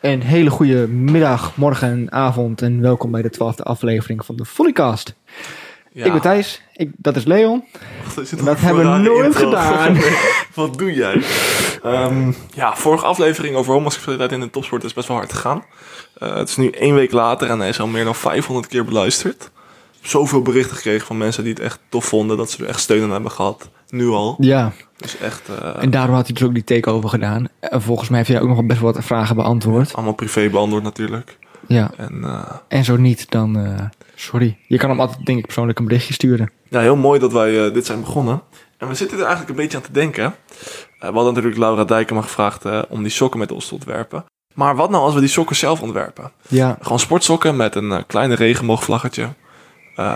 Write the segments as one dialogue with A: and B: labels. A: Een hele goede middag, morgen, avond en welkom bij de twaalfde aflevering van de Follycast.
B: Ja.
A: Ik ben Thijs, ik, dat is Leon.
C: Wat is het
A: Dat
C: voor
A: hebben we
C: rare
A: nooit
C: intro?
A: gedaan.
C: Wat doe jij? Ehm, ja, vorige aflevering over homoseksualiteit in de topsport is best wel hard gegaan. Eh, het is nu één week later en hij is al meer dan 500 keer beluisterd. Zoveel berichten gekregen van mensen die het echt tof vonden, dat ze er echt steun aan hebben gehad. Nu al.
A: Ja,
C: Dus echt eh,
A: en daarom had hij dus ook die takeover gedaan. En volgens mij heeft hij ook nog wel best wel wat vragen beantwoord.
C: allemaal privé beantwoord natuurlijk.
A: Ja,
C: En eh,
A: en zo niet, dan eh, sorry. Je kan hem altijd, denk ik, persoonlijk een berichtje sturen.
C: ja, heel mooi dat wij eh, dit zijn begonnen. En we zitten er eigenlijk een beetje aan te denken. Eh, we hadden natuurlijk Laura Dijkema gevraagd eh, om die sokken met ons te ontwerpen. Maar wat nou als we die sokken zelf ontwerpen?
A: Ja,
C: Gewoon sportsokken met een eh, kleine regenboogvlaggetje. Eh,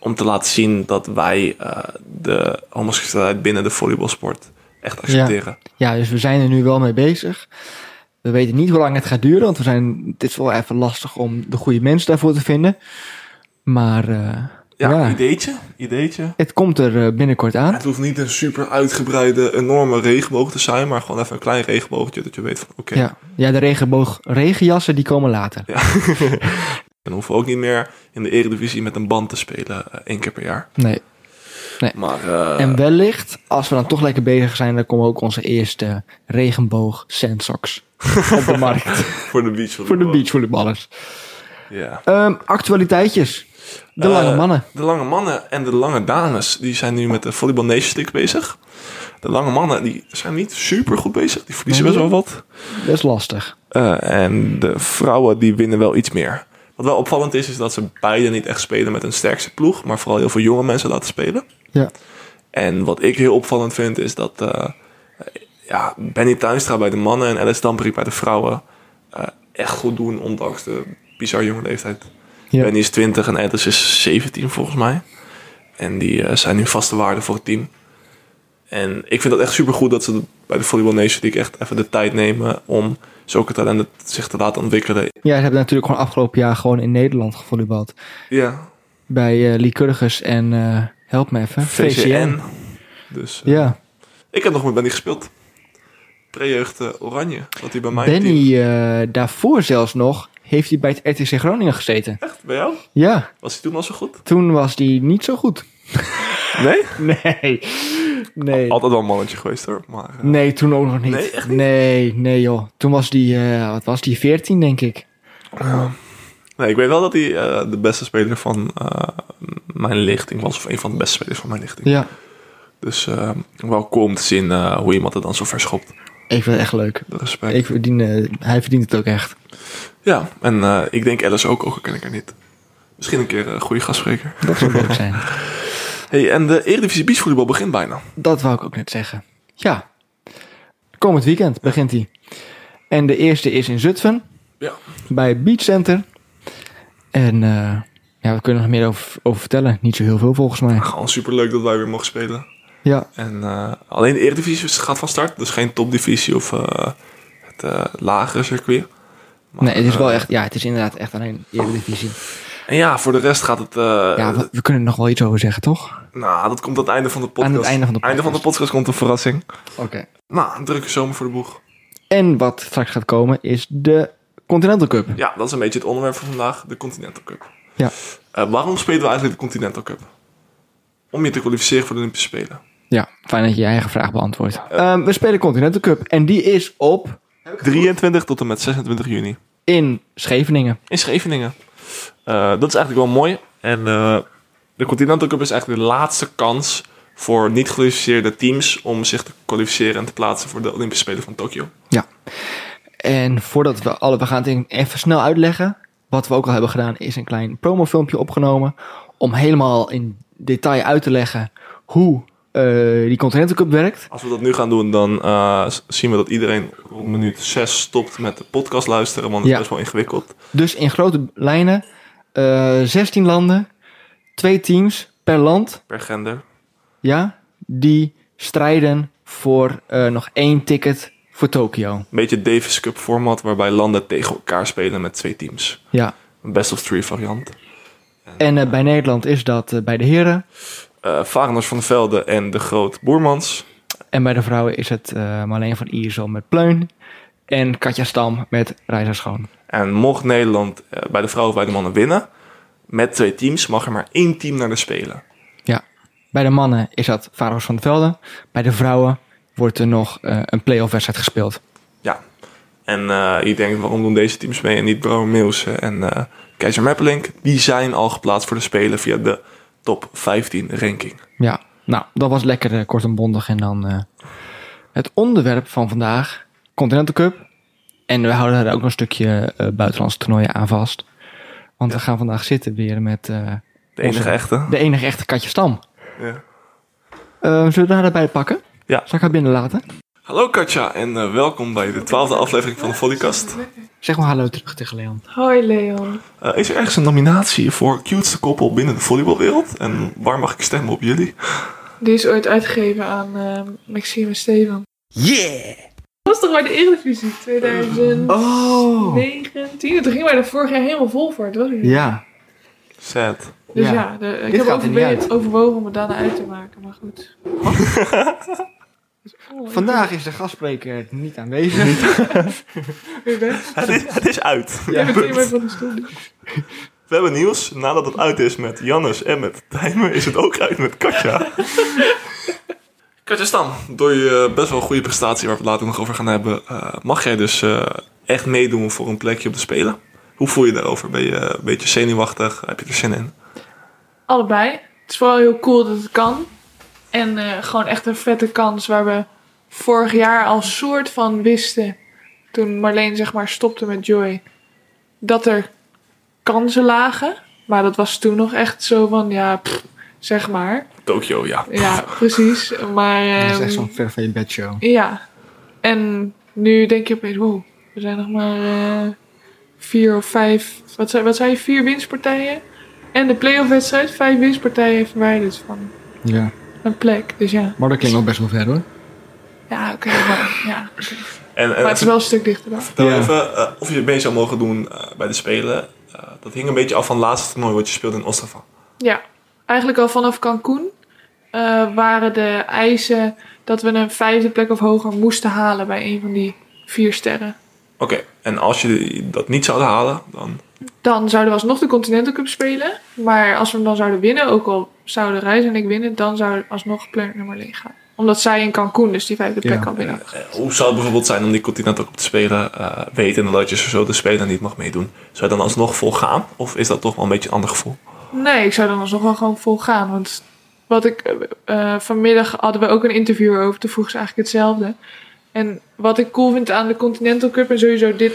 C: om te laten zien dat wij eh, de homoseksualiteit binnen de volleybalsport echt accepteren.
A: ja, dus we zijn er nu wel mee bezig. We weten niet hoe lang het gaat duren, want we zijn, het is wel even lastig om de goede mensen daarvoor te vinden. Maar eh,
C: Ja,
A: Ja.
C: ideetje. ideetje.
A: het komt er eh, binnenkort aan.
C: Het hoeft niet een super uitgebreide, enorme regenboog te zijn, maar gewoon even een klein regenboogje dat je weet van oké.
A: Ja, ja de regenboog, regenjassen die komen later.
C: Dan hoeven we ook niet meer in de eredivisie met een band te spelen eh, één keer per jaar.
A: Nee.
C: Maar eh,
A: En wellicht, als we dan toch lekker bezig zijn, dan komen ook onze eerste regenboog sandsocks op de markt
C: voor de beach.
A: voor de beachvolleyballers.
C: Ja.
A: Ehm, actualiteitjes. De
C: Eh,
A: lange mannen.
C: De lange mannen en de lange dames die zijn nu met de Volleyball Nation Stick bezig. De lange mannen die zijn niet super goed bezig. Die verliezen
A: Nee.
C: best wel wat.
A: Best lastig.
C: Eh, en de vrouwen die winnen wel iets meer. Wat wel opvallend is, is dat ze beide niet echt spelen met hun sterkste ploeg. Maar vooral heel veel jonge mensen laten spelen.
A: Ja.
C: En wat ik heel opvallend vind, is dat eh, eh, ja, Benny Tuinstra bij de mannen en Alice Dampery bij de vrouwen eh, echt goed doen, ondanks de bizar jonge leeftijd.
A: Ja.
C: Benny is 20 en Alice is 17 volgens mij. En die eh, zijn nu vaste waarde voor het team. En ik vind dat echt supergoed dat ze bij de Volleyball Nation League echt even de tijd nemen om zulke talenten zich te laten ontwikkelen.
A: Ja, ze hebben natuurlijk gewoon afgelopen jaar gewoon in Nederland gevolleybald.
C: Ja,
A: Bij eh Lycurgus en, eh, help me even,
C: VCN. Dus eh,
A: Ja,
C: ik heb nog met Benny gespeeld. Pre-jeugd eh, Oranje, zat hij bij mij in het team.
A: Benny eh, daarvoor zelfs nog, heeft hij bij het RTC Groningen gezeten.
C: Echt, bij jou?
A: Ja,
C: Was hij toen al zo goed?
A: toen was die niet zo goed.
C: Nee?
A: Nee, nee.
C: Altijd wel een mannetje geweest hoor. Maar, eh,
A: Nee, toen ook nog niet.
C: Nee, echt
A: Nee, nee, joh. Toen was die, eh, wat was die, 14 denk ik.
C: nee, ik weet wel dat hij eh, de beste speler van eh, mijn lichting was. Of een van de beste spelers van mijn lichting.
A: Ja,
C: Dus eh, wel cool om te zien eh, hoe iemand het dan zo ver schopt.
A: ik vind het echt leuk.
C: Dat respect.
A: Ik verdien, eh, hij verdient het ook echt.
C: Ja, en eh, ik denk Alice ook, ook al ken ik haar niet. Misschien een keer een goede gastspreker.
A: Dat zou leuk zijn.
C: Hey, en de Eredivisie Beachvolleybal begint bijna.
A: Dat wou ik ook net zeggen. Ja. Komend weekend begint hij. En de eerste is in Zutphen.
C: Ja.
A: Bij Beach Center. En eh, ja, we kunnen er nog meer over, over vertellen. Niet zo heel veel volgens mij.
C: Gewoon superleuk dat wij weer mogen spelen.
A: Ja,
C: En eh, alleen de Eredivisie gaat van start. Dus geen topdivisie of eh, het eh, lagere circuit. Maar,
A: nee, het is wel
C: eh,
A: echt, ja, het is inderdaad echt alleen Eredivisie.
C: En ja, voor de rest gaat het... eh,
A: Ja, we, we kunnen er nog wel iets over zeggen, toch?
C: Nou, dat komt aan het einde van de podcast.
A: Aan het einde van de
C: Einde van de podcast komt een verrassing.
A: Oké.
C: Nou, een drukke zomer voor de boeg.
A: En wat straks gaat komen is de Continental Cup.
C: Ja, dat is een beetje het onderwerp van vandaag. De Continental Cup.
A: Ja.
C: Eh, waarom spelen we eigenlijk de Continental Cup? Om je te kwalificeren voor de Olympische Spelen.
A: Ja, fijn dat je je eigen vraag beantwoordt. Ehm, we spelen Continental Cup en die is op
C: 23 tot en met 26 juni.
A: in Scheveningen.
C: In Scheveningen. Eh, dat is eigenlijk wel mooi. En eh, de Continental Cup is eigenlijk de laatste kans voor niet gekwalificeerde teams om zich te kwalificeren en te plaatsen voor de Olympische Spelen van Tokio.
A: Ja. En voordat we alle, we gaan het denk ik even snel uitleggen. Wat we ook al hebben gedaan is een klein promofilmpje opgenomen. Om helemaal in detail uit te leggen hoe eh, die Continental Cup werkt.
C: Als we dat nu gaan doen, dan eh, s- zien we dat iedereen rond minuut 6 stopt met de podcast luisteren, want
A: Ja.
C: het is best wel ingewikkeld.
A: Dus in grote lijnen, eh 16 landen, twee teams per land.
C: Per gender.
A: ja, die strijden voor eh, nog één ticket voor Tokio.
C: Een beetje Davis Cup format, waarbij landen tegen elkaar spelen met twee teams.
A: Ja.
C: Een best of three variant.
A: En eh, bij Nederland is dat eh, bij de heren.
C: Eh Varenders van de Velde en de Groot Boermans.
A: En bij de vrouwen is het eh Marleen van Iersel met Pleun. En Katja Stam met Reizer Schoon.
C: En mocht Nederland eh, bij de vrouwen of bij de mannen winnen, met twee teams, mag er maar één team naar de Spelen.
A: Ja. Bij de mannen is dat Faro's van het Velden. Bij de vrouwen wordt er nog eh, een play-off wedstrijd gespeeld.
C: Ja. En eh, je denkt, waarom doen deze teams mee en niet Brouwer Meelsen en eh, Keizer Meppelink? Die zijn al geplaatst voor de Spelen via de top 15 ranking.
A: Ja, nou, dat was lekker eh, kort en bondig. En dan eh, het onderwerp van vandaag, Continental Cup. En we houden daar ook nog een stukje eh, buitenlandse toernooien aan vast. Want we gaan vandaag zitten weer met eh,
C: De enige
A: Onze-
C: echte.
A: de enige echte Katje Stam.
C: Ja.
A: Eh, zullen we haar erbij pakken?
C: Ja.
A: Zal ik haar binnen laten?
C: Hallo Katja en eh, welkom bij de twaalfde aflevering van de Vodcast.
A: Zeg maar hallo terug tegen Leon.
B: Hoi Leon.
C: Eh, is er ergens een nominatie voor cuteste koppel binnen de volleybalwereld? En waar mag ik stemmen op jullie?
B: Die is ooit uitgegeven aan eh, Maxime en Steven.
A: Yeah!
B: Dat was toch bij de Eredivisie 2019?
A: Oh!
B: Toen gingen wij er vorig jaar helemaal vol voor. Dat was het niet.
A: Ja.
C: Sad.
B: Dus ja,
A: Ja.
B: de- ik
A: Dit
B: heb
A: gaat er niet
B: overwe-
A: uit.
B: overwogen om het daarna uit te maken, maar goed. Dus, oh,
A: Vandaag is de gastspreker niet aanwezig.
B: ik ben Weer weg.
C: Het is, het is uit.
B: Ik
A: Ehm,
B: ben meteen weer van de stoel.
C: We hebben nieuws. Nadat het uit is met Jannes en met Tijmen, is het ook uit met Katja. Katja Stam, door je eh, best wel goede prestatie waar we het later nog over gaan hebben, eh, mag jij dus eh, echt meedoen voor een plekje op de Spelen? Hoe voel je daarover? Ben je eh, een beetje zenuwachtig? Heb je er zin in?
B: Allebei. Het is vooral heel cool dat het kan. En eh, gewoon echt een vette kans waar we vorig jaar al soort van wisten. Toen Marleen zeg maar stopte met Joy. Dat er kansen lagen. Maar dat was toen nog echt zo van ja, pff, zeg maar.
C: Tokio, ja.
B: Ja, precies. Maar
A: dat is echt
B: ehm,
A: zo'n ver van je bedshow.
B: ja. En nu denk je opeens, wow, er zijn nog maar eh, vier of vijf, wat zei, wat zei je, vier winstpartijen? En de playoff wedstrijd, vijf winstpartijen verwijderd van
A: Ja.
B: een plek. Dus ja,
A: Maar dat klinkt ook best wel ver hoor.
B: ja oké, maar, ja.
C: En, en
B: maar het is wel een stuk dichterbij.
C: vertel
A: Ja.
C: even eh, of je mee zou mogen doen eh, bij de Spelen. Eh, dat hing een beetje af van het laatste toernooi wat je speelde in Ostrava.
B: Ja, eigenlijk al vanaf Cancún eh, waren de eisen dat we een vijfde plek of hoger moesten halen bij een van die vier sterren.
C: Oké, en als je dat niet zou halen, dan...
B: Dan zouden we alsnog de Continental Cup spelen. Maar als we hem dan zouden winnen, ook al zouden Reis en ik winnen, dan zou alsnog plek nummer 1 gaan. Omdat zij in Cancún dus die vijfde plek
A: Ja.
B: al binnen.
C: Eh, hoe zou het bijvoorbeeld zijn om die continent ook op te spelen, eh weten dat je zo de Spelen niet mag meedoen? Zou je dan alsnog vol gaan? Of is dat toch wel een beetje een ander gevoel?
B: Nee, ik zou dan alsnog wel gewoon vol gaan. Want wat ik. eh, eh, vanmiddag hadden we ook een interview over. Toen vroeg ze eigenlijk hetzelfde. En wat ik cool vind aan de Continental Cup en sowieso dit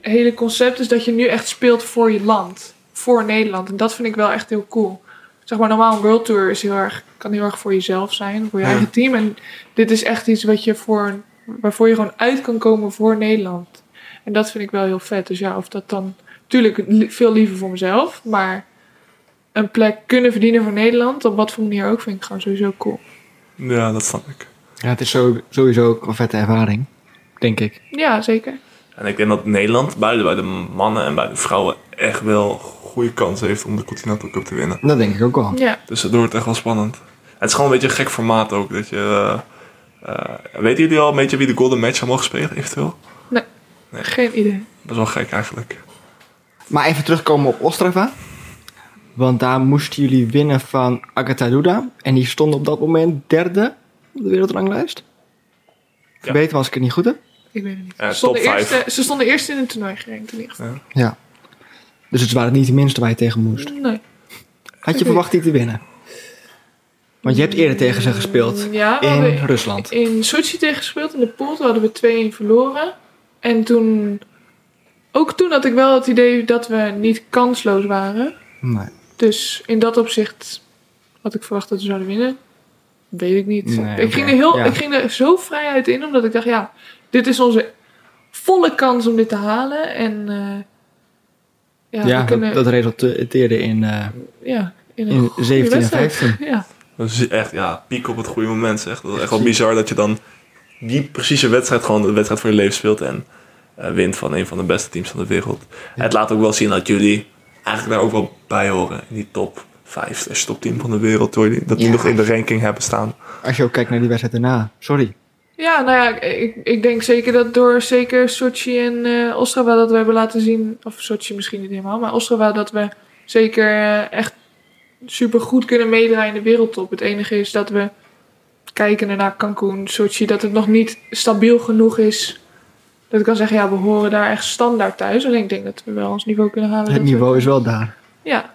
B: hele concept is dat je nu echt speelt voor je land. Voor Nederland. En dat vind ik wel echt heel cool. Zeg maar, normaal een World Tour is heel erg, kan heel erg voor jezelf zijn, voor je
C: Ja.
B: eigen team. En dit is echt iets wat je voor, waarvoor je gewoon uit kan komen voor Nederland. En dat vind ik wel heel vet. Dus ja, of dat dan. Tuurlijk, li- veel liever voor mezelf. Maar een plek kunnen verdienen voor Nederland, op wat voor manier ook, vind ik gewoon sowieso cool.
C: Ja, dat snap ik.
A: Ja, het is zo- sowieso ook een vette ervaring. Denk ik.
B: Ja, zeker.
C: En ik denk dat Nederland, beide bij de mannen en bij de vrouwen, echt wel goede kans heeft om de Continental Cup te winnen.
A: Dat denk ik ook wel.
B: Ja.
C: Dus dat wordt echt wel spannend. En het is gewoon een beetje een gek formaat ook. Dat je, eh, eh, weten jullie al een beetje wie de golden match zou mogen spelen, eventueel?
B: Geen idee.
C: Dat is wel gek eigenlijk.
A: Maar even terugkomen op Ostrava. Want daar moesten jullie winnen van Agatha Duda. En die stond op dat moment derde op de wereldranglijst. Verbeter me als ik het niet goed heb.
B: Ik weet het niet.
C: Eh,
B: ze, stonden
C: top
B: eerst, eh, ze stonden eerst in het toernooi gerankt in ieder
A: Ja. Dus het waren niet de minste waar je tegen moest.
B: geval. Nee.
A: Had je verwacht die te winnen? Want je hebt eerder tegen ze gespeeld.
B: Ja, oh, we
A: In
B: hadden
A: Rusland.
B: in Sochi tegen gespeeld. In de pool toen hadden we 2-1 verloren. En toen... Ook toen had ik wel het idee dat we niet kansloos waren.
A: Nee.
B: Dus in dat opzicht had ik verwacht dat we zouden winnen. Weet ik niet.
A: Nee,
B: ik, ging
A: oké.
B: er heel,
A: Ja.
B: ik ging er zo vrij uit in, omdat ik dacht, ja, dit is onze volle kans om dit te halen. En eh, ja,
A: Ja,
B: we kunnen
A: dat, dat resulteerde in, eh,
B: ja, in een
A: in
B: goede
A: 17 en
B: wedstrijd.
A: 15.
B: Ja,
C: Dat is echt, ja, piek op het goede moment zeg. Dat is echt wel bizar dat je dan die precieze wedstrijd, gewoon de wedstrijd voor je leven speelt en eh, wint van een van de beste teams van de wereld. Het laat ook wel zien dat jullie eigenlijk daar ook wel bij horen. In die top 5, slash top 10 van de wereld, hoor je die- dat die
A: Ja.
C: nog in de ranking hebben staan.
A: Als je ook kijkt naar die wedstrijd daarna. Sorry.
B: Ja, nou ja, ik, ik denk zeker dat door zeker Sochi en eh, Ostrava dat we hebben laten zien, of Sochi misschien niet helemaal, maar Ostrava dat we zeker eh, echt super goed kunnen meedraaien in de wereldtop. Het enige is dat we kijken naar Cancun, Sochi, dat het nog niet stabiel genoeg is. Dat ik kan zeggen, ja, we horen daar echt standaard thuis. En ik denk dat we wel ons niveau kunnen halen.
A: Het
B: dat we-
A: niveau is wel daar.
B: Ja,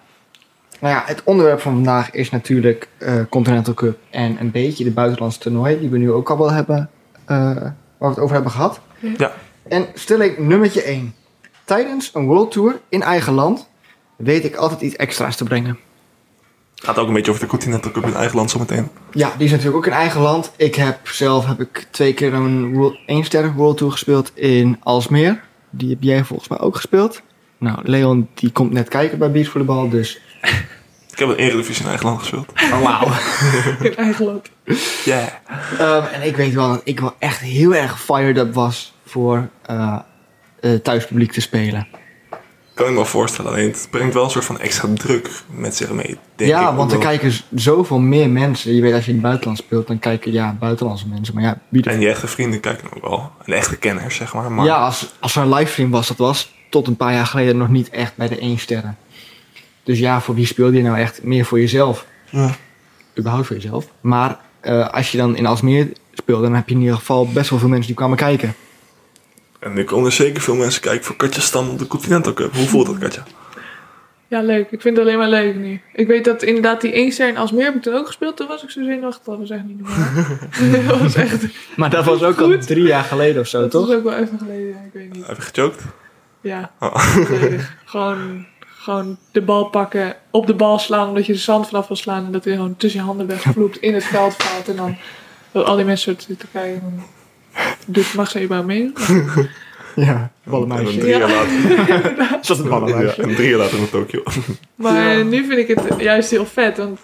A: Nou ja, het onderwerp van vandaag is natuurlijk eh, Continental Cup en een beetje de buitenlandse toernooien die we nu ook al wel hebben, eh, waar we het over hebben gehad.
C: Ja.
A: En stelling nummertje 1. Tijdens een World Tour in eigen land weet ik altijd iets extra's te brengen.
C: Gaat ook een beetje over de Continental Cup in eigen land zometeen.
A: Ja, die is natuurlijk ook in eigen land. Ik heb zelf heb ik twee keer een world, één sterren World Tour gespeeld in Alsmeer. Die heb jij volgens mij ook gespeeld. Nou, Leon die komt net kijken bij Beachvolleybal, dus...
C: Ik heb een Eredivisie in eigen land gespeeld.
A: Oh, wauw.
B: in eigen land.
C: Yeah.
A: Ehm, en ik weet wel dat ik wel echt heel erg fired up was voor eh, eh, thuispubliek te spelen.
C: Kan ik me wel voorstellen. Alleen het brengt wel een soort van extra druk met zich mee. Denk ik.
A: ja,
C: Ook
A: want er
C: wel.
A: kijken z- zoveel meer mensen. Je weet, als je in het buitenland speelt, dan kijken ja, buitenlandse mensen. Maar ja, wie de-
C: En je echte vrienden kijken ook wel. En echte kenners, zeg maar. maar
A: ja als, als er een livestream was, dat was tot een paar jaar geleden nog niet echt bij de 1 sterren. Dus ja, voor wie speelde je nou echt? Meer voor jezelf.
C: Ja.
A: Überhaupt voor jezelf. Maar eh, als je dan in Alsmeer speelde, dan heb je in ieder geval best wel veel mensen die kwamen kijken.
C: En nu komen er zeker veel mensen kijken voor Katja Stam op de Continental Cup. Hoe voelt dat, Katja?
B: Ja, leuk. Ik vind het alleen maar leuk nu. Ik weet dat inderdaad die één ster in Alsmeer heb ik toen ook gespeeld. Toen was ik zo zenuwachtig. Dat was echt niet normaal. dat was echt...
A: Maar dat was ook al
B: Goed.
A: drie jaar geleden of zo,
B: Dat
A: toch?
B: is ook wel even geleden. ja, Ik weet niet.
C: Heb je gechoked?
B: Ja.
C: Oh.
B: volledig. gewoon, gewoon de bal pakken. Op de bal slaan. Omdat je de zand vanaf wil slaan. En dat weer gewoon tussen je handen wegvloept. In het veld valt. En dan dat al die mensen zo te kijken. van, Doet, mag ze überhaupt mee?
A: Ja,
C: En
A: ballenmeisje.
C: drie jaar later.
A: Zoals het
C: Ja, en drie jaar later in Tokio.
B: Maar
A: Ja.
B: nu vind ik het juist heel vet. Want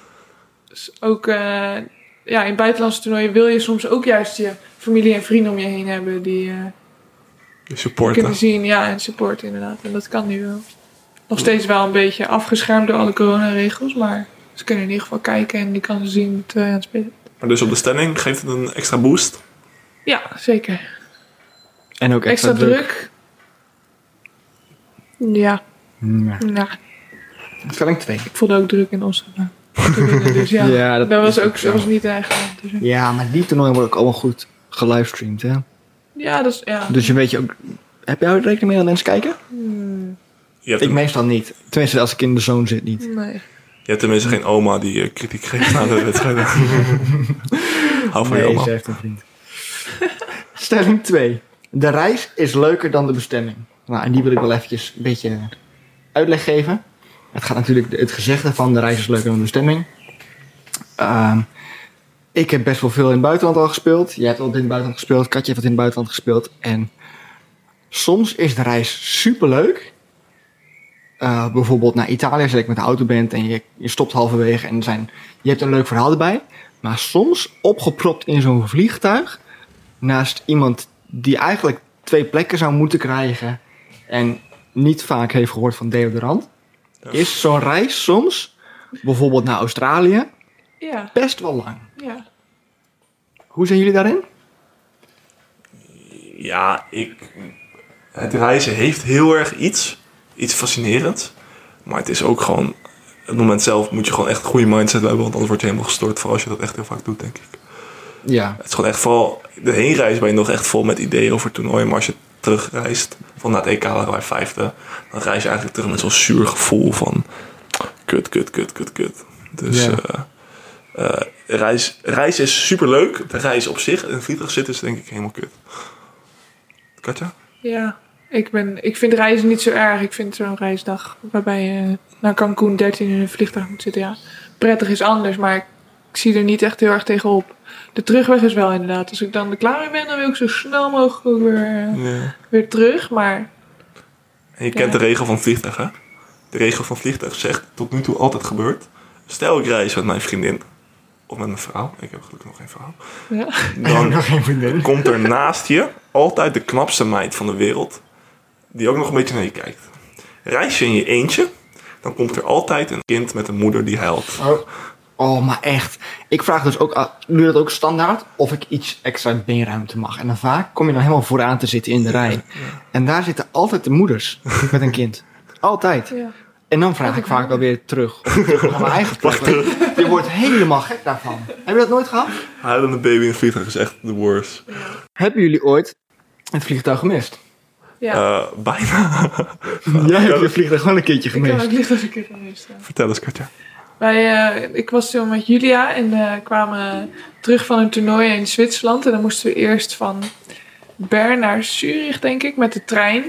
B: s- ook eh, ja, in buitenlandse toernooien wil je soms ook juist je familie en vrienden om je heen hebben. Die eh
C: Je supporten.
B: kunnen zien ja, en supporten inderdaad. En dat kan nu wel. Nog steeds wel een beetje afgeschermd door alle coronaregels. Maar ze kunnen in ieder geval kijken en die kan ze zien terwijl je aan het spelen bent.
C: Maar dus op de stelling geeft het een extra boost.
B: Ja, zeker.
A: En ook
B: Extra, druk. Ja, nou,
A: Stelling 2.
B: ik voelde ook druk in Amsterdam. Dus ja,
A: Ja, dat
B: dat, was
A: is
B: ook
A: ook
B: dat
A: zo.
B: was niet eigenlijk. Dus, ja.
A: Ja, maar die toernooien worden ook allemaal goed gelivestreamd, hè?
B: ja, dat is... Ja.
A: Dus je weet je ook... Heb jij ook rekening mee dat mensen kijken?
B: Hmm,
C: Je hebt,
A: Ik meestal niet. Tenminste, als ik in de zone zit niet.
B: nee.
C: je hebt tenminste geen oma die eh, kritiek geeft na de wedstrijd. Hou van je oma.
A: heeft een vriend. Stelling 2. De reis is leuker dan de bestemming. Nou, en die wil ik wel eventjes een beetje uitleg geven. Het gaat natuurlijk het gezegde van de reis is leuker dan de bestemming. Ehm, ik heb best wel veel in het buitenland al gespeeld. Jij hebt al in het buitenland gespeeld. Katje heeft wat in het buitenland gespeeld. En soms is de reis superleuk. Eh bijvoorbeeld naar Italië, als je met de auto bent en je, je stopt halverwege en er zijn, je hebt een leuk verhaal erbij. Maar soms opgepropt in zo'n vliegtuig naast iemand die eigenlijk twee plekken zou moeten krijgen en niet vaak heeft gehoord van deodorant,
C: Ja.
A: is zo'n reis soms, bijvoorbeeld naar Australië,
B: Ja,
A: best wel lang.
B: ja.
A: Hoe zijn jullie daarin?
C: Ja, ik... Het reizen heeft heel erg iets. Iets fascinerends. Maar het is ook gewoon... Het moment zelf moet je gewoon echt een goede mindset hebben. Want anders word je helemaal gestort. Vooral als je dat echt heel vaak doet, denk ik.
A: Ja.
C: Het is gewoon echt vooral... De heenreis ben je nog echt vol met ideeën over toernooien. Maar als je terugreist... Van naar het EK waren wij vijfde. Dan reis je eigenlijk terug met zo'n zuur gevoel van... Kut, kut, kut, kut, kut. Dus...
A: Ja.
C: eh, eh, reis, reis is superleuk. De reis op zich. In een vliegtuig zitten is denk ik helemaal kut. Katja?
B: Ja, ik, ben, ik vind reizen niet zo erg. Ik vind zo'n reisdag waarbij je naar Cancun 13 uur in een vliegtuig moet zitten. Ja, prettig is anders, maar ik, ik zie er niet echt heel erg tegenop. De terugweg is wel inderdaad. Als ik dan er klaar mee ben, dan wil ik zo snel mogelijk ook weer, eh,
C: Ja.
B: weer terug. Maar
C: En je kent de
B: Ja.
C: regel van vliegtuig, hè? De regel van vliegtuig zegt tot nu toe altijd gebeurt. Stel ik reis met mijn vriendin. Of met mijn vrouw. Ik heb gelukkig nog geen vrouw.
B: ja,
C: Dan
A: nog geen vriendin.
C: komt er naast je altijd de knapste meid van de wereld. Die ook nog een beetje naar je kijkt. Reis je in je eentje. Dan komt er altijd een kind met een moeder die huilt.
A: Oh, Oh, maar echt. Ik vraag dus ook, aan- nu dat ook standaard, of ik iets extra beenruimte mag. En dan vaak kom je dan helemaal vooraan te zitten in de rij. En daar zitten altijd de moeders met een kind. Altijd.
B: Ja.
A: En dan vraag ik vaak wel weer terug. Of terug naar mijn eigen plek. Je wordt helemaal gek daarvan. Heb je dat nooit gehad?
C: Huilende baby in het vliegtuig is echt de worst.
A: Hebben jullie ooit het vliegtuig gemist?
B: ja.
C: Eh, bijna.
A: Jij hebt je vliegtuig gewoon een keertje
B: ik heb
A: gemist.
B: ook licht als ik het gemist heb.
C: Vertel eens, Katja.
B: Wij, eh, ik was toen met Julia en eh, kwamen terug van een toernooi in Zwitserland. En dan moesten we eerst van Bern naar Zurich, denk ik, met de trein.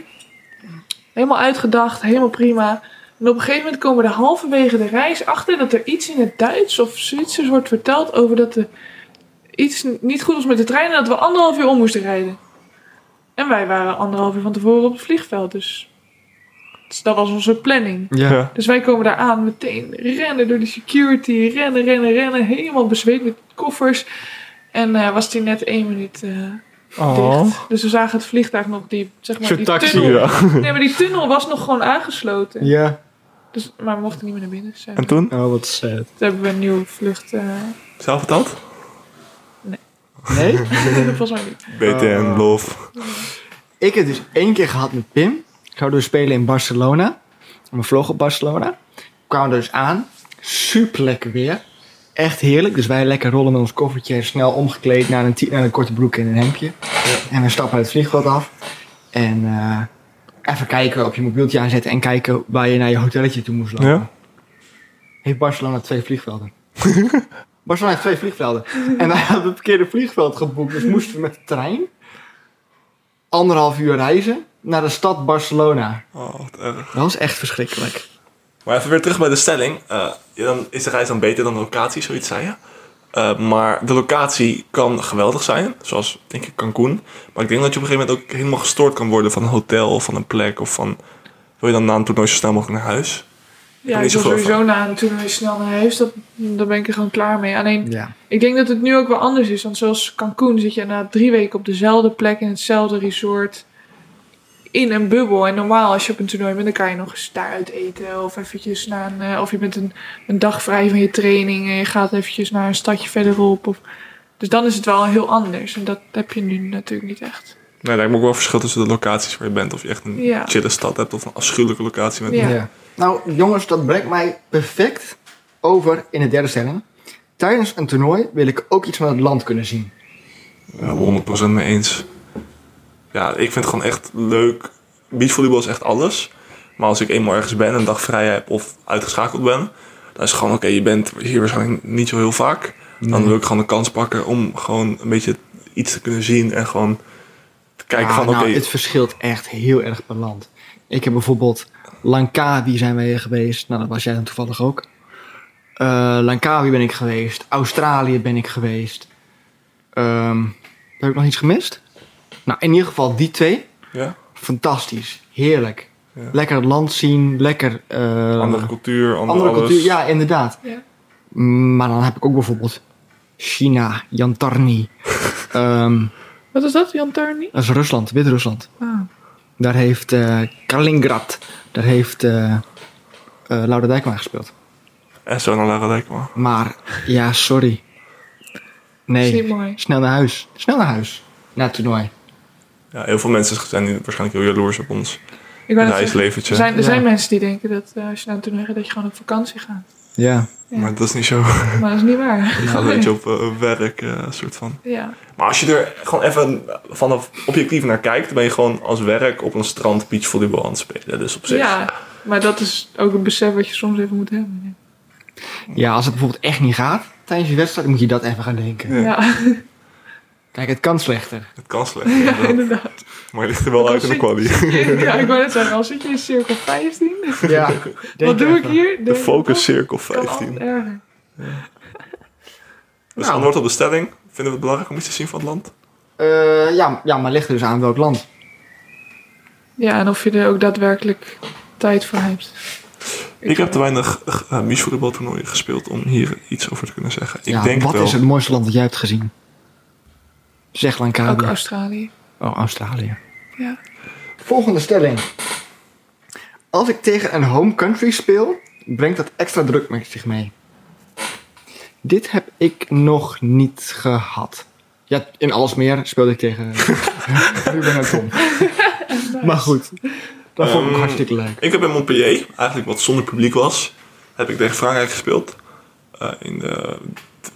B: Helemaal uitgedacht, helemaal prima. En op een gegeven moment komen we er halverwege de reis achter dat er iets in het Duits of Zwitsers wordt verteld over dat er iets n- niet goed was met de trein en dat we anderhalf uur om moesten rijden. En wij waren anderhalf uur van tevoren op het vliegveld, dus dus dat was onze planning.
A: Ja.
B: Dus wij komen daar aan, meteen rennen door de security, rennen, rennen, rennen, helemaal bezweet met koffers. En eh, was die net één minuut eh,
A: Oh.
B: dicht. Dus we zagen het vliegtuig nog die, zeg maar,
A: Zo'n
B: die
A: taxi,
B: tunnel.
C: Ja.
B: Nee, maar die tunnel was nog gewoon aangesloten.
A: Ja.
B: Dus, maar we mochten niet meer naar binnen. Dus, eh,
C: En toen?
A: Oh, wat sad.
B: toen hebben we een nieuwe vlucht. eh,
C: Zelf dat?
A: Nee?
B: volgens mij niet.
C: BTN,
A: Eh.
C: love.
A: Ik heb dus één keer gehad met Pim. Zouden we spelen in Barcelona. We vlogen op Barcelona. Kwamen dus aan. Super lekker weer. Echt heerlijk. Dus wij lekker rollen met ons koffertje. Snel omgekleed naar een, t- naar een korte broek en een hemdje. En we stappen uit het vliegveld af. En eh, even kijken op je mobieltje aanzetten. En kijken waar je naar je hotelletje toe moest lopen.
C: Ja.
A: Heeft Barcelona twee vliegvelden. Barcelona heeft twee vliegvelden. En wij hadden het verkeerde vliegveld geboekt. Dus moesten we met de trein anderhalf uur reizen naar de stad Barcelona.
C: Oh, wat erg.
A: Dat was echt verschrikkelijk.
C: Maar even weer terug bij de stelling. Eh, ja, dan is de reis dan beter dan de locatie, zoiets zei je? Eh, maar de locatie kan geweldig zijn, zoals denk ik Cancun. Maar ik denk dat je op een gegeven moment ook helemaal gestoord kan worden van een hotel of van een plek of van. Wil je dan na een toernooi zo snel mogelijk naar huis?
B: Ja,
C: niet
B: ik
C: zo
B: was
C: geloof
B: sowieso na een toernooi snel naar huis. Dat, daar ben ik er gewoon klaar mee. Alleen,
A: Ja.
B: Ik denk dat het nu ook wel anders is. Want zoals Cancun zit je na drie weken op dezelfde plek in hetzelfde resort. In een bubbel. En normaal als je op een toernooi bent, dan kan je nog eens daaruit eten. Of eventjes naar een... eh, of je bent een, een dag vrij van je training. En je gaat eventjes naar een stadje verderop. Of, dus dan is het wel heel anders. En dat heb je nu natuurlijk niet echt.
C: Nee, daar moet ook wel verschil tussen de locaties waar je bent. Of je echt een
B: Ja.
C: chille stad hebt of een afschuwelijke locatie. Met
B: Ja.
A: Nou, jongens, dat brengt mij perfect over in de derde stelling. Tijdens een toernooi wil ik ook iets van het land kunnen zien.
C: Ja, 100% mee eens. Ja, ik vind het gewoon echt leuk. Beachvolleybal is echt alles. Maar als ik eenmaal ergens ben, een dag vrij heb of uitgeschakeld ben, dan is het gewoon oké, je bent hier waarschijnlijk niet zo heel vaak. Dan wil ik gewoon de kans pakken om gewoon een beetje iets te kunnen zien en gewoon te kijken
A: Ah,
C: van oké.
A: nou, het verschilt echt heel erg per land. Ik heb bijvoorbeeld Langkawi zijn wij geweest. Nou, dat was jij dan toevallig ook. Eh Langkawi ben ik geweest. Australië ben ik geweest. Ehm, heb ik nog iets gemist? Nou, in ieder geval die twee.
C: ja,
A: Fantastisch. Heerlijk.
C: Ja.
A: Lekker het land zien. Lekker... eh,
C: andere cultuur, andere,
A: andere
C: alles.
A: cultuur. Ja, inderdaad.
B: Ja.
A: Mm, Maar dan heb ik ook bijvoorbeeld China, Jantarni. Ehm,
B: Wat is dat, Jan Tarni?
A: dat is Rusland, Wit-Rusland.
B: Ah.
A: Daar heeft eh Kaliningrad, daar heeft eh eh Laura Dijkma gespeeld.
C: En zo naar Lara Dijkman.
A: Maar ja, sorry.
B: Is niet
A: Nee,
B: mooi.
A: snel naar huis. Snel naar huis. Naar het toernooi.
C: Ja, heel veel mensen zijn nu waarschijnlijk heel jaloers op ons
B: Ik wou net zeggen,
C: reislevertje.
B: er zijn, er
A: Ja.
B: zijn mensen die denken dat eh, als je naar een toernooi gaat, dat je gewoon op vakantie gaat.
A: Ja.
C: Maar dat is niet zo.
B: Maar dat is niet waar.
C: Je gaat een beetje op eh, werk, eh, soort van.
B: Ja.
C: Maar als je er gewoon even vanaf objectief naar kijkt, dan ben je gewoon als werk op een strand beachvolleybal aan het spelen. Dus op zich.
B: Ja, maar dat is ook een besef wat je soms even moet hebben.
A: ja, als het bijvoorbeeld echt niet gaat tijdens je wedstrijd, moet je dat even gaan denken.
C: Ja.
B: Ja,
A: Kijk, het kan slechter.
C: Het kan slecht. inderdaad.
B: inderdaad.
C: maar je ligt er wel
B: Het
C: uit in
B: kan
C: de quali.
B: Ja, ik wou net zeggen, al zit je in cirkel 15,
A: Ja.
B: wat doe ik hier?
C: De
B: Denk
C: focus
B: ik,
C: cirkel
B: oh, kan altijd
C: 15.
B: erger.
C: Dus
A: Nou.
C: antwoord op de stelling. Vinden we het belangrijk om iets te zien van het land?
A: Eh, ja, ja, maar ligt er dus aan welk land.
B: Ja, en of je er ook daadwerkelijk tijd voor hebt.
C: Ik heb te weinig uh, beachvolleybaltoernooien gespeeld om hier iets over te kunnen zeggen. Ik
A: ja,
C: denk
A: wat
C: wel.
A: is het mooiste land dat jij hebt gezien? Zeg
B: Ook
A: Langkawi.
B: Australië.
A: Oh, Australië.
B: Ja.
A: Volgende stelling. Als ik tegen een home country speel, brengt dat extra druk met zich mee. Dit heb ik nog niet gehad. Ja, in Alsmeer speelde ik tegen Ruben en Tom. Maar goed, dat vond ik
C: Ehm,
A: hartstikke leuk.
C: Ik heb in Montpellier, eigenlijk wat zonder publiek was, heb ik tegen Frankrijk gespeeld. Eh, in de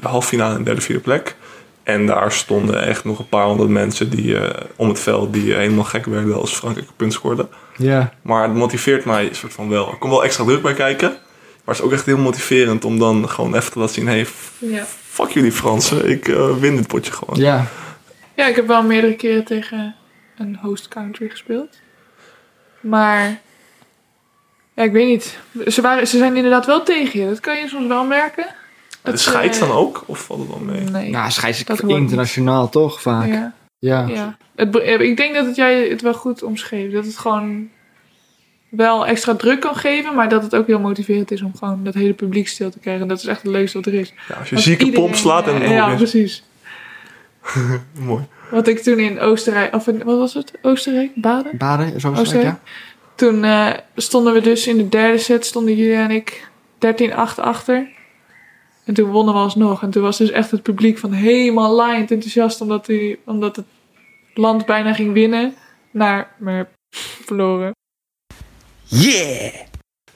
C: halffinale en derde, vierde plek. En daar stonden echt nog een paar honderd mensen die, eh, om het veld die helemaal gek werden als Frankrijk een punt scoorde.
A: Ja,
C: Maar het motiveert mij soort van wel. Er komt wel extra druk bij kijken. Maar het is ook echt heel motiverend om dan gewoon even te laten zien... Hey, f-
B: Ja.
C: fuck jullie Fransen, ik eh, win dit potje gewoon.
A: ja.
B: Ja, ik heb wel meerdere keren tegen een host country gespeeld. Maar ja, ik weet niet. Ze, waren, ze zijn inderdaad wel tegen je. Dat kan je soms wel merken.
C: De
B: ze-
C: scheids dan ook? Of valt het wel mee?
B: Nee.
A: Nou, scheids ik
B: Dat hoort niet.
A: internationaal toch vaak. Ja.
B: ja. ja. Het, be- eh, ik denk dat het jij het wel goed omschreef. Dat het gewoon wel extra druk kan geven, maar dat het ook heel motiverend is om gewoon dat hele publiek stil te krijgen. Dat is echt het leukste wat er is.
C: Ja, als je
B: Want
C: zieke
B: iedereen,
C: pomp slaat en
B: eh,
C: dan
B: Ja,
C: hoor je-
B: precies.
C: Mooi.
B: Wat ik toen in Oostenrijk, of in, wat was het? Oostenrijk? Baden?
A: Baden, zo was het,
B: Oostenrijk.
A: ja.
B: Oh, Toen eh, stonden we dus in de derde set, stonden jullie en ik 13-8 achter. En toen wonnen we alsnog. En toen was dus echt het publiek van helemaal laaiend enthousiast, omdat, die, omdat het land bijna ging winnen, naar maar verloren.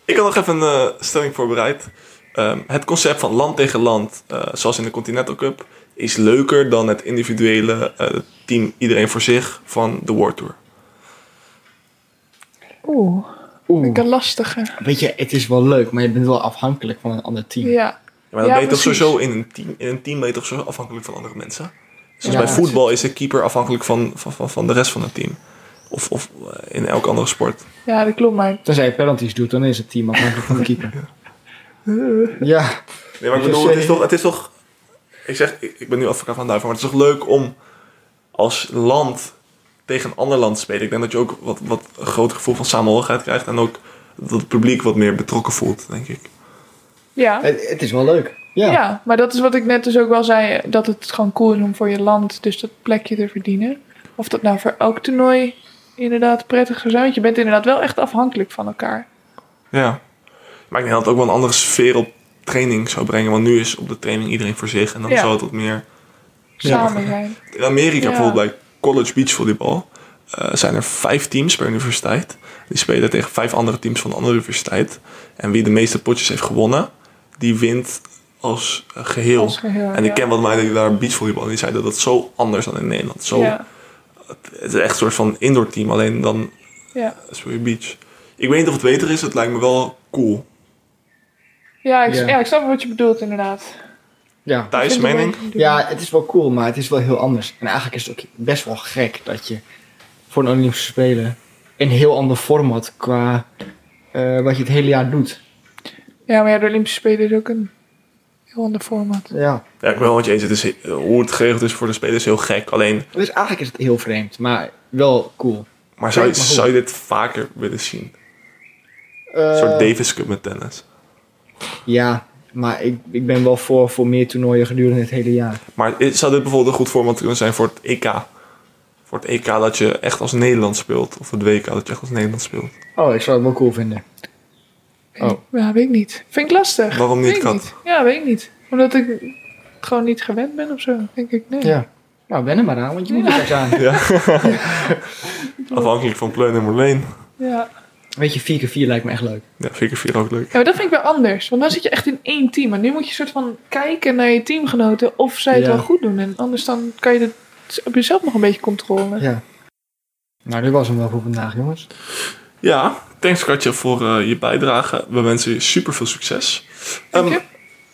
C: Ik had nog even een eh, stelling voorbereid. Ehm, het concept van land tegen land, eh, zoals in de Continental Cup, is leuker dan het individuele eh, team, iedereen voor zich, van de World Tour.
B: Oeh,
A: Oeh,
B: een lastiger.
A: weet je, het is wel leuk, maar je bent wel afhankelijk van een ander team.
B: Ja.
C: Ja, maar dan
B: Ja,
C: ben je toch
B: precies.
C: sowieso in een team. In een team ben je toch sowieso afhankelijk van andere mensen. Zoals
A: Ja,
C: bij voetbal is de keeper afhankelijk van, van, van, van de rest van het team. Of, of eh, in elk andere sport.
B: ja, dat klopt, maar
A: Tenzij je penalties doet, dan is het team afhankelijk van de keeper. ja,
C: Nee, maar ik
A: Dus
C: bedoel, het
A: jij-
C: is toch... Het is toch ik, zeg, ik, ik ben nu advocaat van duiven, maar het is toch leuk om als land tegen een ander land te spelen. Ik denk dat je ook wat, wat een groter gevoel van samenhorigheid krijgt. En ook dat het publiek wat meer betrokken voelt, denk ik.
B: ja.
A: het, het is wel leuk. Ja.
B: Ja. maar dat is wat ik net dus ook wel zei. Dat het gewoon cool is om voor je land dus dat plekje te verdienen. Of dat nou voor elk toernooi inderdaad prettig zou zijn. Want je bent inderdaad wel echt afhankelijk van elkaar.
C: Ja. Maar ik denk dat het ook wel een andere sfeer op training zou brengen. Want nu is op de training iedereen voor zich. En dan
B: Ja.
C: zou het wat meer...
B: Samen zijn.
C: In Amerika
B: Ja.
C: bijvoorbeeld bij college beachvolleybal eh zijn er vijf teams per universiteit. Die spelen tegen vijf andere teams van de andere universiteit. En wie de meeste potjes heeft gewonnen, die wint als eh, geheel.
B: Als geheel,
C: en ik
B: ja.
C: ken wat meiden die daar beachvolleybal en die zeiden dat is zo anders dan in Nederland. Zo,
B: Ja,
C: Het is echt een soort van indoor team, alleen dan
B: ja.
C: speel je beach. Ik weet niet of het beter is, het lijkt me wel cool.
B: Ja, ik,
A: Ja.
B: ja, ik snap wat je bedoelt inderdaad.
A: ja.
C: Thijs,
B: Ik vind het
C: mening?
B: wel-
A: Ja, het is wel cool, maar het is wel heel anders. En eigenlijk is het ook best wel gek dat je voor een Olympische Spelen een heel ander format qua eh, wat je het hele jaar doet.
B: Ja, maar ja, de Olympische Spelen is ook een heel ander format.
A: Ja.
C: Ja, ik ben wel met je eens. Het is, eh, hoe het geregeld is voor de spelers is heel gek. Alleen,
A: Dus eigenlijk is het heel vreemd, maar wel cool.
C: maar zou, je-
A: Kijk maar goed.
C: zou je dit vaker willen zien? Een
A: Eh,
C: soort Davis Cup met tennis.
A: Ja, maar ik, ik ben wel voor, voor meer toernooien gedurende het hele jaar.
C: Maar is- zou dit bijvoorbeeld een goed format kunnen zijn voor het EK? Voor het EK dat je echt als Nederland speelt. Of het WK dat je echt als Nederland speelt.
A: Oh, ik zou het wel cool vinden. Oh.
B: Ja, weet ik niet. Vind ik lastig.
C: Waarom niet,
B: weet ik
C: Kat?
B: niet. Ja, weet ik niet. Omdat ik het gewoon niet gewend ben of zo. Denk ik, nee.
A: Ja. Nou, wen er maar aan, want je moet er straks aan.
C: Ja. Afhankelijk van Pleun en Moleen.
B: ja.
A: Weet je, 4 keer 4 lijkt me echt leuk.
C: Ja, vind ik vier ook leuk.
B: Ja, maar dat vind ik wel anders. Want dan zit je echt in één team. En nu moet je soort van kijken naar je teamgenoten of zij het
A: Ja.
B: wel goed doen. En anders dan kan je het op jezelf nog een beetje controleren.
A: Ja. Nou, dit was hem wel voor vandaag, jongens.
C: Ja, thanks Katja voor eh, je bijdrage. We wensen je super veel succes.
B: Dank je.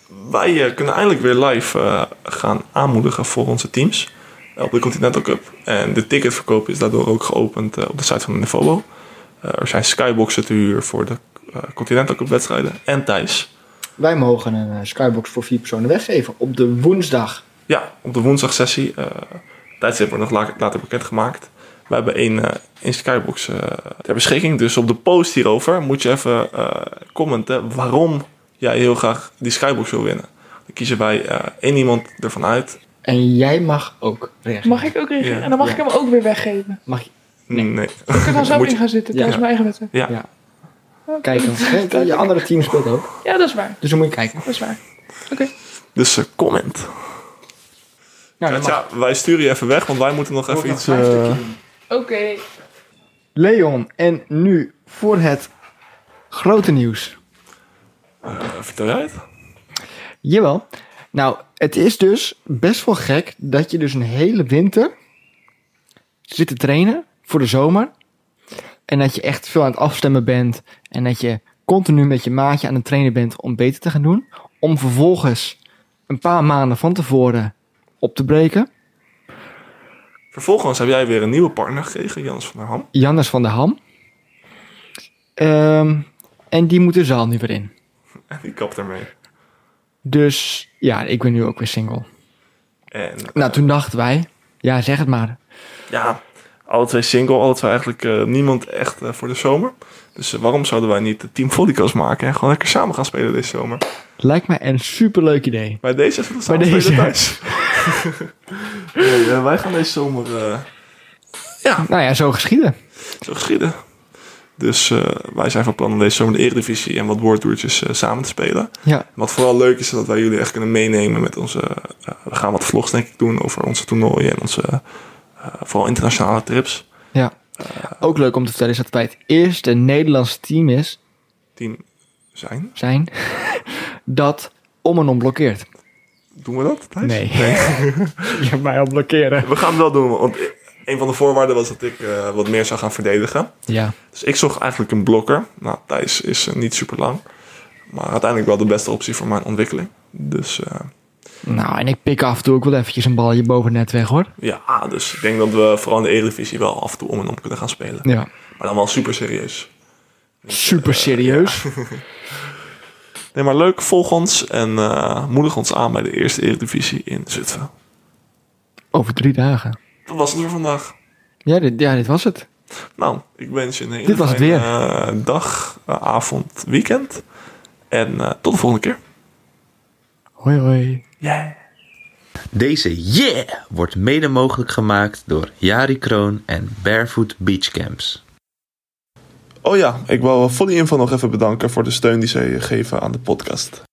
C: Ehm, wij eh, kunnen eindelijk weer live eh, gaan aanmoedigen voor onze teams. eh, op de Continental Cup. En de ticketverkoop is daardoor ook geopend eh, op de site van de Nevobo. Eh, er zijn skyboxen te huur voor de eh, Continental Cup wedstrijden. En Thijs.
A: Wij mogen een eh, skybox voor vier personen weggeven op de woensdag.
C: Ja, op de woensdagsessie. eh tijdstip wordt nog la- later bekendgemaakt. We hebben één eh, één skybox eh, ter beschikking. Dus op de post hierover moet je even eh, commenten waarom jij heel graag die skybox wil winnen. Dan kiezen wij eh, één iemand ervan uit.
A: En jij mag ook reageren.
B: Mag ik ook reageren?
C: Ja.
B: En dan mag
A: Um, Ja.
B: ik hem ook weer weggeven.
A: Mag je
C: Nee.
B: Ik kan dan zelf
C: Moet je-
B: in gaan zitten.
A: Ja.
B: Dat is mijn eigen wedstrijd.
A: kijken? Je andere team speelt ook.
B: Ja, dat is waar.
A: Dus dan moet je kijken.
B: Dat is waar. Oké.
C: Dus eh, comment.
A: Nou, dat mag.
C: Katja, wij sturen je even weg, want wij moeten nog even iets... eh,
B: Oké.
A: Leon, en nu voor het grote nieuws.
C: vertel jij het?
A: Jawel. Nou, het is dus best wel gek dat je dus een hele winter zit te trainen voor de zomer. En dat je echt veel aan het afstemmen bent. En dat je continu met je maatje aan het trainen bent om beter te gaan doen. Om vervolgens een paar maanden van tevoren op te breken.
C: Vervolgens heb jij weer een nieuwe partner gekregen, Jans van der Ham.
A: Jannes van der Ham. Ehm, en die moet de zaal nu weer in.
C: En die kapt ermee.
A: Dus ja, ik ben nu ook weer single.
C: En
A: Nou, toen dachten wij, ja, zeg het maar.
C: ja, alle twee single, alle twee eigenlijk eh, niemand echt eh, voor de zomer. Dus eh, waarom zouden wij niet de Team Vollicos maken en gewoon lekker samen gaan spelen deze zomer?
A: Lijkt mij een superleuk idee.
C: Bij deze is het samen
A: Bij
C: spelen
A: deze.
C: thuis. nee, eh, wij gaan deze zomer eh,
A: Nou ja, zo geschieden.
C: zo geschieden. Dus eh, wij zijn van plan om deze zomer de Eredivisie en wat woordtoertjes eh, samen te spelen.
A: Ja,
C: Wat vooral leuk is, is dat wij jullie echt kunnen meenemen met onze... eh, we gaan wat vlogs denk ik doen over onze toernooien en onze eh, vooral internationale trips.
A: ja. Ook leuk om te vertellen is dat wij het eerste Nederlandse team is,
C: Team zijn.
A: zijn dat om en om blokkeert.
C: Doen we dat? Thijs?
A: Nee. Je hebt mij al blokkeren.
C: We gaan het wel doen, want een van de voorwaarden was dat ik eh, wat meer zou gaan verdedigen.
A: Ja,
C: Dus ik zocht eigenlijk een blokker. Nou, Thijs is eh, niet super lang. Maar uiteindelijk wel de beste optie voor mijn ontwikkeling. Dus eh,
A: nou en ik pik af en toe ook wel eventjes een balje boven het net weg hoor.
C: ja, dus ik denk dat we vooral in de Eredivisie wel af en toe om en om kunnen gaan spelen.
A: Ja,
C: Maar dan wel super serieus.
A: super serieus.
C: Nee, maar leuk. Volg ons en eh, moedig ons aan bij de eerste Eredivisie in Zutphen.
A: Over drie dagen.
C: Dat was het voor vandaag.
A: Ja, dit, ja, dit was het.
C: Nou, ik wens je een hele
A: Dit was het
C: fijne, eh, dag, eh, avond, weekend. En eh, tot de volgende keer.
A: Hoi hoi.
C: Yeah.
D: Deze Yeah wordt mede mogelijk gemaakt door Jari Kroon en Barefoot Beachcamps.
C: eh, Oh ja, ik wou Volley Info nog even bedanken voor de steun die zij eh, geven aan de podcast.